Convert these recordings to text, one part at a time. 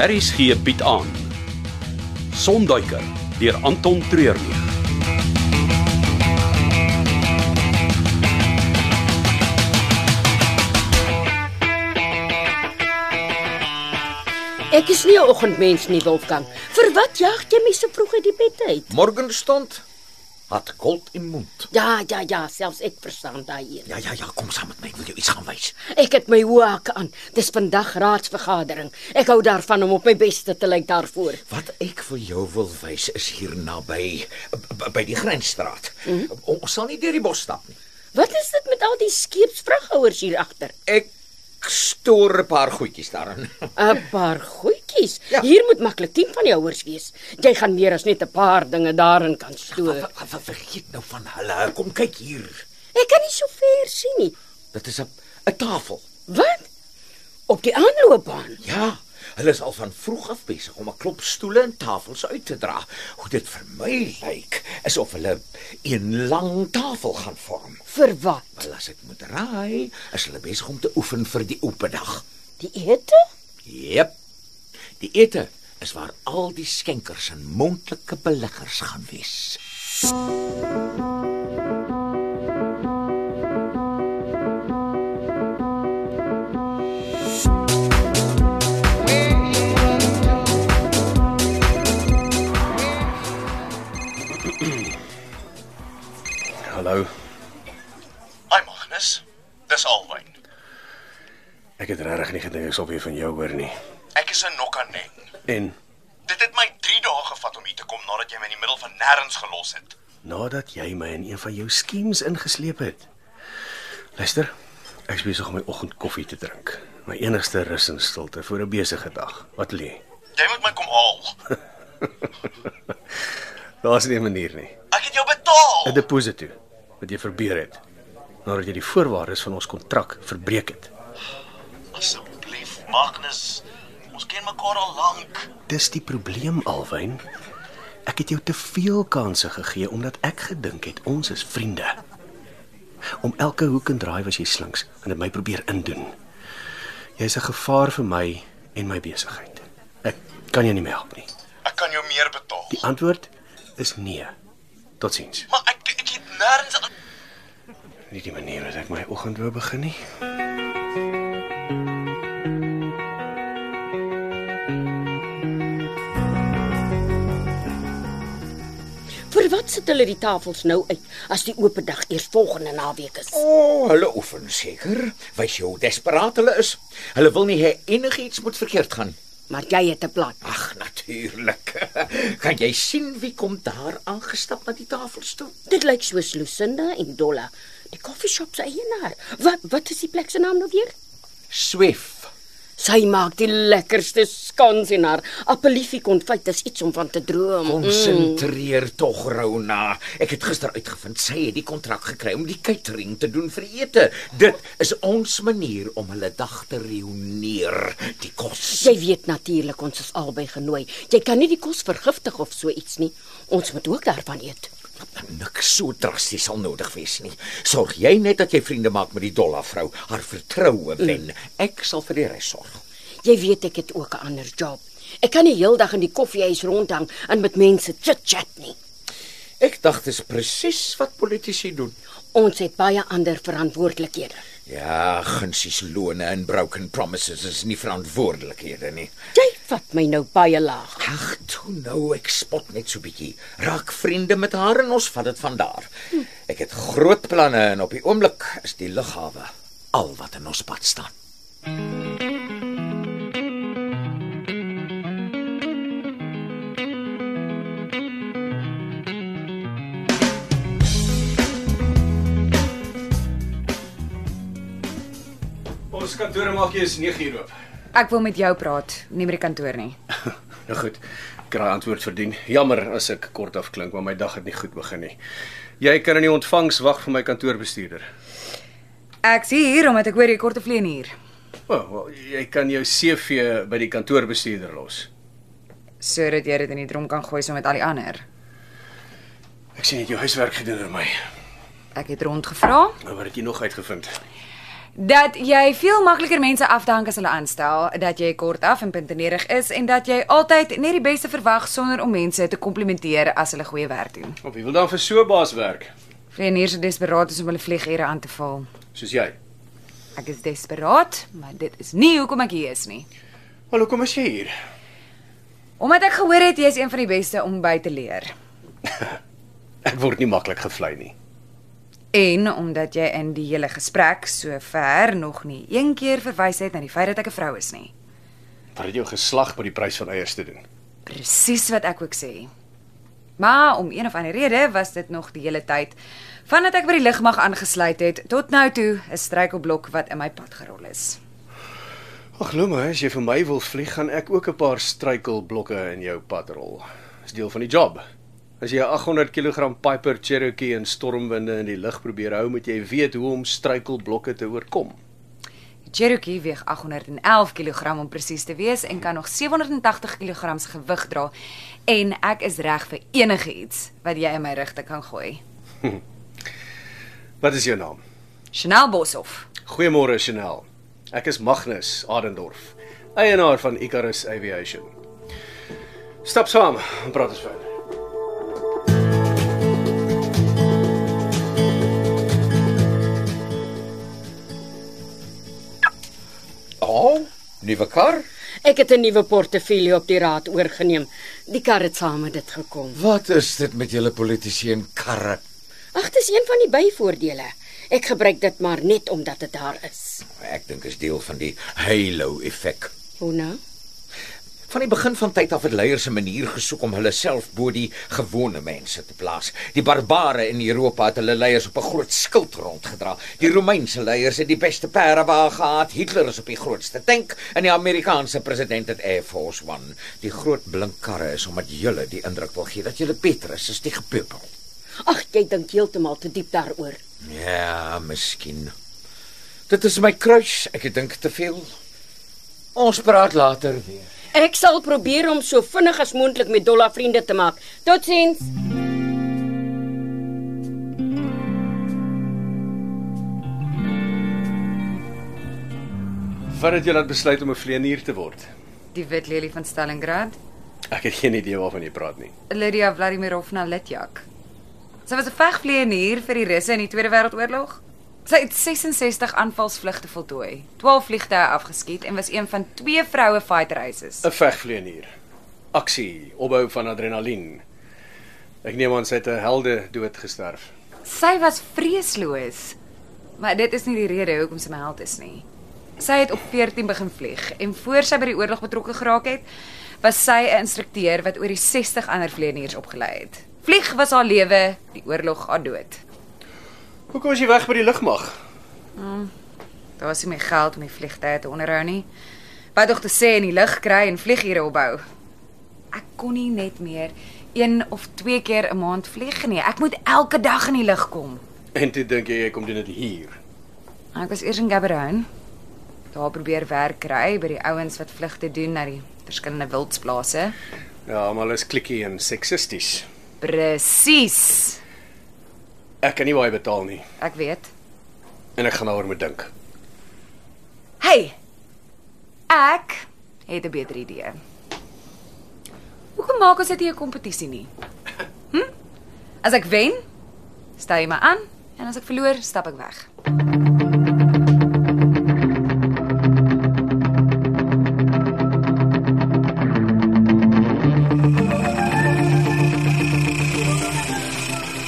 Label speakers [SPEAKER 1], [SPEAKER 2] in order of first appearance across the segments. [SPEAKER 1] Aries gee Piet aan. Sonduiker deur Anton Treurnig.
[SPEAKER 2] Ek is nie 'n oggendmens nie, Wolfgang. Vir wat jag jy my so vroeg uit die bed uit?
[SPEAKER 3] Morgenstond had kold in mond.
[SPEAKER 2] Ja, ja, ja, selfs ek verstaan daai een.
[SPEAKER 3] Ja ja ja, kom saam met my, wil jou iets gaan wys.
[SPEAKER 2] Ek het my hoë hakke aan. Dis vandag raadsvergadering. Ek hou daarvan om op my beste te lyk daarvoor.
[SPEAKER 3] Wat ek vir jou wil wys is hier naby b- by die grensstraat. Mm -hmm. Ons sal nie deur die bos stap nie.
[SPEAKER 2] Wat is dit met al die skeepsvraghouers hier agter?
[SPEAKER 3] Ek stoor 'n paar goedjies daarin.
[SPEAKER 2] 'n Paar goedjies.
[SPEAKER 3] Ja.
[SPEAKER 2] Hier moet maklik 10 van die houers wees. Jy gaan meer as net 'n paar dinge daarin kan stoor.
[SPEAKER 3] Wat wat vergeet nou van hulle? Kom kyk hier.
[SPEAKER 2] Ek kan nie so ver sien nie.
[SPEAKER 3] Dit is 'n 'n tafel.
[SPEAKER 2] Wat? Op die aanloopbaan.
[SPEAKER 3] Ja, hulle is al van vroeg af besig om 'n klop stoele en tafels uit te dra. Hoe dit vir my lyk, is of hulle een lang tafel gaan vorm.
[SPEAKER 2] Vir wat?
[SPEAKER 3] Wel as ek moet raai, is hulle besig om te oefen vir die opendag.
[SPEAKER 2] Die ete?
[SPEAKER 3] Jep. Die ete is waar al die skenkers en mondelike beleggers gaan wees.
[SPEAKER 4] Hallo.
[SPEAKER 5] Hi Magnus. Dis Alwyn.
[SPEAKER 4] Ek het regtig nie gedink ek sal weer van jou hoor nie.
[SPEAKER 5] Ek is in Nokaneng.
[SPEAKER 4] En
[SPEAKER 5] Dit het my 3 dae gevat om hier te kom nadat jy my in die middel van nêrens gelos het.
[SPEAKER 4] nadat jy my in een van jou skemas ingesleep het. Luister, ek's besig om my oggendkoffie te drink. My enigste rus en stilte vir 'n besige dag. Wat lê?
[SPEAKER 5] Jy moet my kom haal.
[SPEAKER 4] Daar's nie 'n manier nie.
[SPEAKER 5] Ek het jou betaal.
[SPEAKER 4] 'n Deposito toe wat jy verbeur het nadat jy die voorwaardes van ons kontrak verbreek het.
[SPEAKER 5] Asseblief Magnus. Ons ken mekaar al lank.
[SPEAKER 4] Dis die probleem alwyn. Ek het jou te veel kansse gegee omdat ek gedink het ons is vriende. Om elke hoek en draai was jy slinks en het my probeer indoen. Jy's 'n gevaar vir my en my besigheid. Ek kan jou nie meer help nie.
[SPEAKER 5] Ek kan jou meer betaal.
[SPEAKER 4] Die antwoord is nee. Totsiens.
[SPEAKER 5] Maar ek ek het nêrens aan
[SPEAKER 4] Nie die manier wat ek my oggend wou begin nie.
[SPEAKER 2] Vir wat sit hulle die tafels nou uit as die oop dag eers volgende naweek is?
[SPEAKER 3] O, oh, hulle oefen seker. Wys jou hoe desperaat hulle is. Hulle wil nie hê enigiets moet verkeerd gaan.
[SPEAKER 2] Maar jy het 'n plan.
[SPEAKER 3] Ag, natuurlik. Kan jy sien wie kom daar aangestap na die tafels toe?
[SPEAKER 2] Dit lyk soos Lucinda en Dolla, die koffieshop se eienaar. Wat wat is die plek se naam nou weer?
[SPEAKER 3] Swef.
[SPEAKER 2] Sy maak die lekkerste skons en haar appeliefie konfyt is iets om van te droom. Mm.
[SPEAKER 3] Konsentreer tog, Rona. Ek het gister uitgevind sy het die kontrak gekry om die catering te doen vir die ete. Dit is ons manier om hulle dag te reuneer, die kos.
[SPEAKER 2] Jy weet natuurlik ons is albei genooi. Jy kan nie die kos vergiftig of so iets nie. Ons moet ook daarvan eet.
[SPEAKER 3] Niks so drasties sal nodig wees nie. Sorg jy net dat jy vriende maak met die dollar vrou, haar vertroue wen. Ek sal vir die res sorg.
[SPEAKER 2] Jy weet ek het ook 'n ander job. Ek kan nie heeldag in die koffiehuis rondhang en met mense chit-chat nie.
[SPEAKER 3] Ek dink dis presies wat politici doen.
[SPEAKER 2] Ons het baie ander verantwoordelikhede.
[SPEAKER 3] Ja, gunsies lone en broken promises is nie verantwoordelikhede nie.
[SPEAKER 2] Jy vat my nou baie laag.
[SPEAKER 3] Ag, toe nou, ek spot net so bietjie. Raak vriende met haar en ons vat dit van daar. Ek het groot planne en op die oomblik is die lughawe al wat in ons pad staan.
[SPEAKER 4] Ons kantoor maak jy is 9 uur oop.
[SPEAKER 6] Ek wil met jou praat, nie met die kantoor nie.
[SPEAKER 4] Nou goed. Kraai antwoord verdien. Jammer as ek kortaf klink, maar my dag het nie goed begin nie. Jy kan in die ontvangs wag vir my kantoorbestuurder.
[SPEAKER 6] Ek sien hier omdat ek hoor jy kort 'n vleen hier.
[SPEAKER 4] Wel, oh, wel, jy kan jou CV by die kantoorbestuurder los.
[SPEAKER 6] Sodat jy dit in die drom kan gooi saam met al die ander.
[SPEAKER 4] Ek sien jy het jou huiswerk gedoen vir my.
[SPEAKER 6] Ek het rondgevra.
[SPEAKER 4] Nou wat het jy nog uitgevind?
[SPEAKER 6] dat jy veel makliker mense afdank as hulle aanstel, dat jy kortaf en puntenerig is en dat jy altyd net die beste verwag sonder om mense te komplimenteer as hulle goeie werk doen.
[SPEAKER 7] Op wie wil dan vir so 'n baas werk
[SPEAKER 6] Vleieniers is desperaat is om hulle vliegure aan te val.
[SPEAKER 7] soos jy?
[SPEAKER 6] Ek is desperaat, maar dit is nie hoekom ek hier is nie.
[SPEAKER 7] Maar hoekom is jy hier?
[SPEAKER 6] Omdat ek gehoor het jy is een van die beste om by te leer
[SPEAKER 4] Ek word nie maklik gevlei nie.
[SPEAKER 6] en omdat jy in die hele gesprek sover nog nie een keer verwys het na die feit dat ek 'n vrou is nie.
[SPEAKER 4] Wat het jou geslag by die prys van eiers te doen?
[SPEAKER 6] Presies wat ek ook sê. Maar om een of ander rede was dit nog die hele tyd vandat ek by die lugmag aangesluit het tot nou toe 'n struikelblok wat in my pad gerol is.
[SPEAKER 4] Ag glo my, as jy vir my wil vlieg, gaan ek ook 'n paar struikelblokke in jou pad rol. Dis deel van die job. As jy 'n 800 kg Piper Cherokee in stormwinde in die lug probeer hou, moet jy weet hoe om struikelblokke te oorkom.
[SPEAKER 6] Die Cherokee weeg 811 kg om presies te wees en kan nog 780 kg se gewig dra en ek is reg vir enige iets wat jy in my rigting kan gooi.
[SPEAKER 4] Wat is jou naam?
[SPEAKER 6] Chanel Boshoff.
[SPEAKER 4] Goeiemôre Chanel. Ek is Magnus Adendorf, eienaar van Icarus Aviation. Stap saam, en praat ons verder.
[SPEAKER 3] Oh, nuwe kar?
[SPEAKER 2] Ek het 'n nuwe portefeulje op die raad oorgeneem. Die kar het saam met dit gekom.
[SPEAKER 3] Wat is dit met julle politici en karre?
[SPEAKER 2] Ag, dis een van die byvoordele. Ek gebruik dit maar net omdat dit daar is.
[SPEAKER 3] Ek dink is deel van die halo effek.
[SPEAKER 2] Hoe nou?
[SPEAKER 3] Van die begin van tyd af het leiers 'n manier gesoek om hulle self bo die gewone mense te plaas. Die barbare in Europa het hulle leiers op 'n groot skild rondgedra. Die Romeinse leiers het die beste perde waar gehad. Hitler is op die grootste tank en die Amerikaanse president het Air Force 1. Die groot blink karre is omdat julle die indruk wil gee dat julle beter is as die gepeupel.
[SPEAKER 2] Ag, jy dink heeltemal te diep daaroor.
[SPEAKER 3] Ja, miskien. Dit is my kruis. Ek dink te veel. Ons praat later weer.
[SPEAKER 2] Ek sal probeer om so vinnig as moontlik met Dolla vriende te maak. Totsiens.
[SPEAKER 4] Wat het jou laat besluit om 'n vleenier te word?
[SPEAKER 6] Die wit lelie van Stalingrad,
[SPEAKER 4] Ek het geen idee waarvan jy praat nie.
[SPEAKER 6] Lydia Vladimirovna Litjak. Sy was 'n vegvleienier vir die Russe in die Tweede Wêreldoorlog. Sy het 66 aanvalsvlugte voltooi, 12 vliegtuie afgeskiet en was een van twee vroue fighter aces.
[SPEAKER 4] 'n Vegvleenier. Aksie, opbou van adrenalien. Ek neem aan sy het 'n helde dood gesterf.
[SPEAKER 6] Sy was vreesloos. Maar dit is nie die rede hoekom sy my held is nie. Sy het op 14 begin vlieg en voor sy by die oorlog betrokke geraak het, was sy 'n instrukteur wat oor die 60 ander vleieniers opgelei het. Vlieg was haar lewe, die oorlog haar dood.
[SPEAKER 4] Hoekom is jy weg by die lugmag?
[SPEAKER 6] Daar was nie meer geld om die vliegtye te onderhou nie. Wat tog te sê in die lug kry en vliegure opbou. Ek kon nie net meer een of twee keer 'n maand vlieg nie. Ek moet elke dag in die lug kom.
[SPEAKER 4] En toe dink jy ek kom doen dit hier.
[SPEAKER 6] Ek was eers in Gaborone. Daar probeer werk kry by die ouens wat vlugte doen na die verskillende wildsplase.
[SPEAKER 4] Ja, maar hulle is klikkie en seksisties.
[SPEAKER 6] Presies.
[SPEAKER 4] Ek kan nie baie betaal nie
[SPEAKER 6] Ek weet.
[SPEAKER 4] en ek gaan daaroor moet dink.
[SPEAKER 6] Hey. Ek het 'n beter idee. Hoekom maak ons dit nie 'n kompetisie nie? Hm? As ek wen, stel jy my aan en as ek verloor, stap ek weg.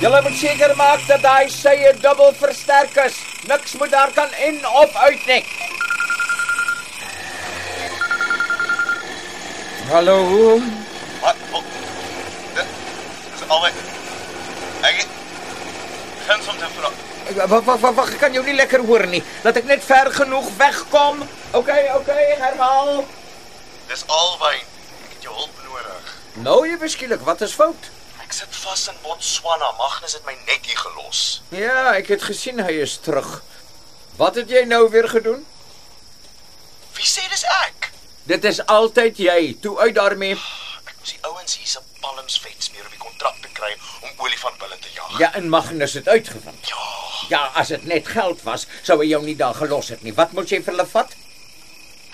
[SPEAKER 3] Julle moet seker maak dat daai sye dubbel versterk is. Niks moet daar kan in of uit nie. Hallo.
[SPEAKER 5] Wat? Oh, dit is albei. Ek kan soms te vra.
[SPEAKER 3] Wag wag wag, ek kan jou nie lekker hoor nie. Laat ek net ver genoeg wegkom. OK, OK, herhaal.
[SPEAKER 5] Dis albei. Ek het jou hulp nodig.
[SPEAKER 3] Nou jy beskiklik, wat is fout?
[SPEAKER 5] Ek sit vas in Botswana. Magnus het my net hier gelos.
[SPEAKER 3] Ja, ek het gesien hy is terug. Wat het jy nou weer gedoen?
[SPEAKER 5] Wie sê dis ek?
[SPEAKER 3] Dit is altyd jy. Toe uit daarmee.
[SPEAKER 5] Ek moes die ouens hier se palms vet smeer om die kontrak te kry om olifant bulle te jag.
[SPEAKER 3] Ja, en Magnus het uitgevind.
[SPEAKER 5] Ja.
[SPEAKER 3] Ja, as dit net geld was, sou hy jou nie daar gelos het nie. Wat moes jy vir hulle vat?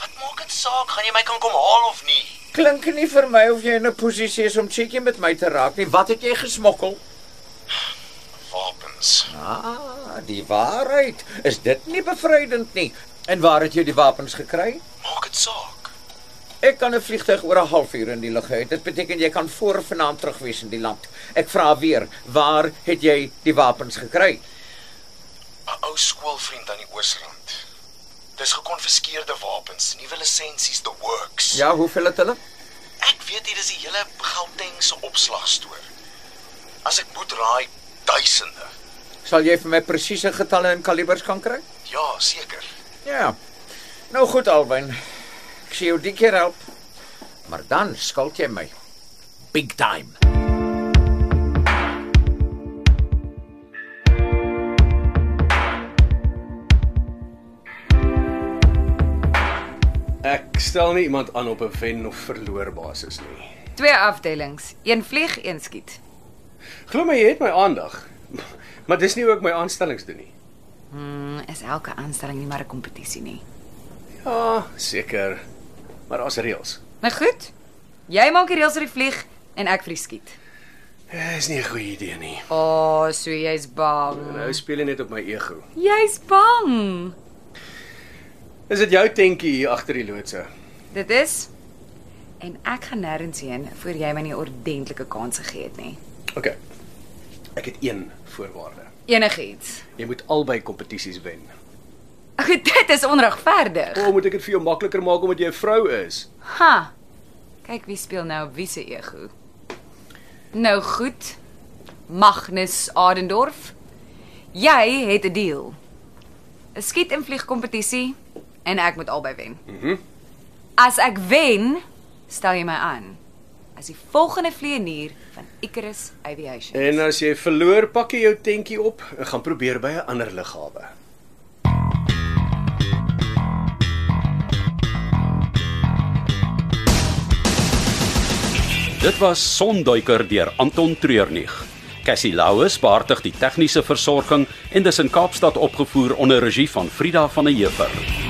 [SPEAKER 8] Wat maak dit saak? Gaan jy my kan kom haal of nie?
[SPEAKER 3] Klink nie vir my of jy in 'n posisie is om chickie met my te raak nie. Wat het jy gesmokkel?
[SPEAKER 8] Wapens.
[SPEAKER 3] Ah, die waarheid. Is dit nie bevrydend nie? En waar het jy die wapens gekry?
[SPEAKER 8] Maak dit saak.
[SPEAKER 3] Ek kan 'n vliegtyg oor 'n halfuur in die lug hê. Dit beteken jy kan voor vanaand terug wees in die land. Ek vra weer, waar het jy die wapens gekry?
[SPEAKER 8] 'n Ou skoolvriend aan die Oosrand. Dis gekonfiskeerde wapens, nuwe lisensies, the works.
[SPEAKER 3] Ja, hoeveel het hulle?
[SPEAKER 8] Ek weet hier is die hele Gauteng se opslagstoor. As ek moet raai, duisende.
[SPEAKER 3] Sal jy vir my presiese getalle en kalibers kan kry?
[SPEAKER 8] Ja, seker.
[SPEAKER 3] Ja. Nou goed, Alwyn. Ek sien jou die keer help. Maar dan skuld jy my. Big time.
[SPEAKER 4] Ek stel nie iemand aan op 'n wen of verloor basis nie.
[SPEAKER 6] Twee afdelings, een vlieg, een skiet.
[SPEAKER 4] Glo my, jy het my aandag. Maar dis nie ook my aanstellings doen nie.
[SPEAKER 6] Hmm, is elke aanstelling nie maar 'n kompetisie nie.
[SPEAKER 4] Ja, seker. Maar daar's reëls.
[SPEAKER 6] Maar goed. Jy maak die reëls vir die vlieg en ek vir die skiet.
[SPEAKER 4] Dis nie 'n goeie idee nie.
[SPEAKER 6] O, oh, so jy's bang.
[SPEAKER 4] Nou speel jy net op my ego.
[SPEAKER 6] Jy's bang.
[SPEAKER 4] Is dit jou tentjie hier agter die loodse?
[SPEAKER 6] Dit is en ek gaan nêrens heen voor jy my nie ordentlike kans gegee het nie.
[SPEAKER 4] OK. Ek het een voorwaarde.
[SPEAKER 6] Enigiets.
[SPEAKER 4] Jy moet albei kompetisies wen.
[SPEAKER 6] Ag, dit is onregverdig.
[SPEAKER 4] O, moet ek dit vir jou makliker maak omdat jy 'n vrou is?
[SPEAKER 6] Ha. Kyk wie speel nou op wie se ego. Nou goed. Magnus Adendorf. Jy het 'n deal. 'n Skiet en vlieg kompetisie en ek moet albei wen. Mhm. Mm As ek wen, stel jy my aan as die volgende vleienier van Icarus Aviation.
[SPEAKER 4] En as jy verloor, pak jy jou tentjie op en gaan probeer by 'n ander lughawe.
[SPEAKER 1] Dit was Sonduiker deur Anton Treurnig. Cassie Louws beheerdig die tegniese versorging en dis in Kaapstad opgevoer onder regie van Frida van der Heever.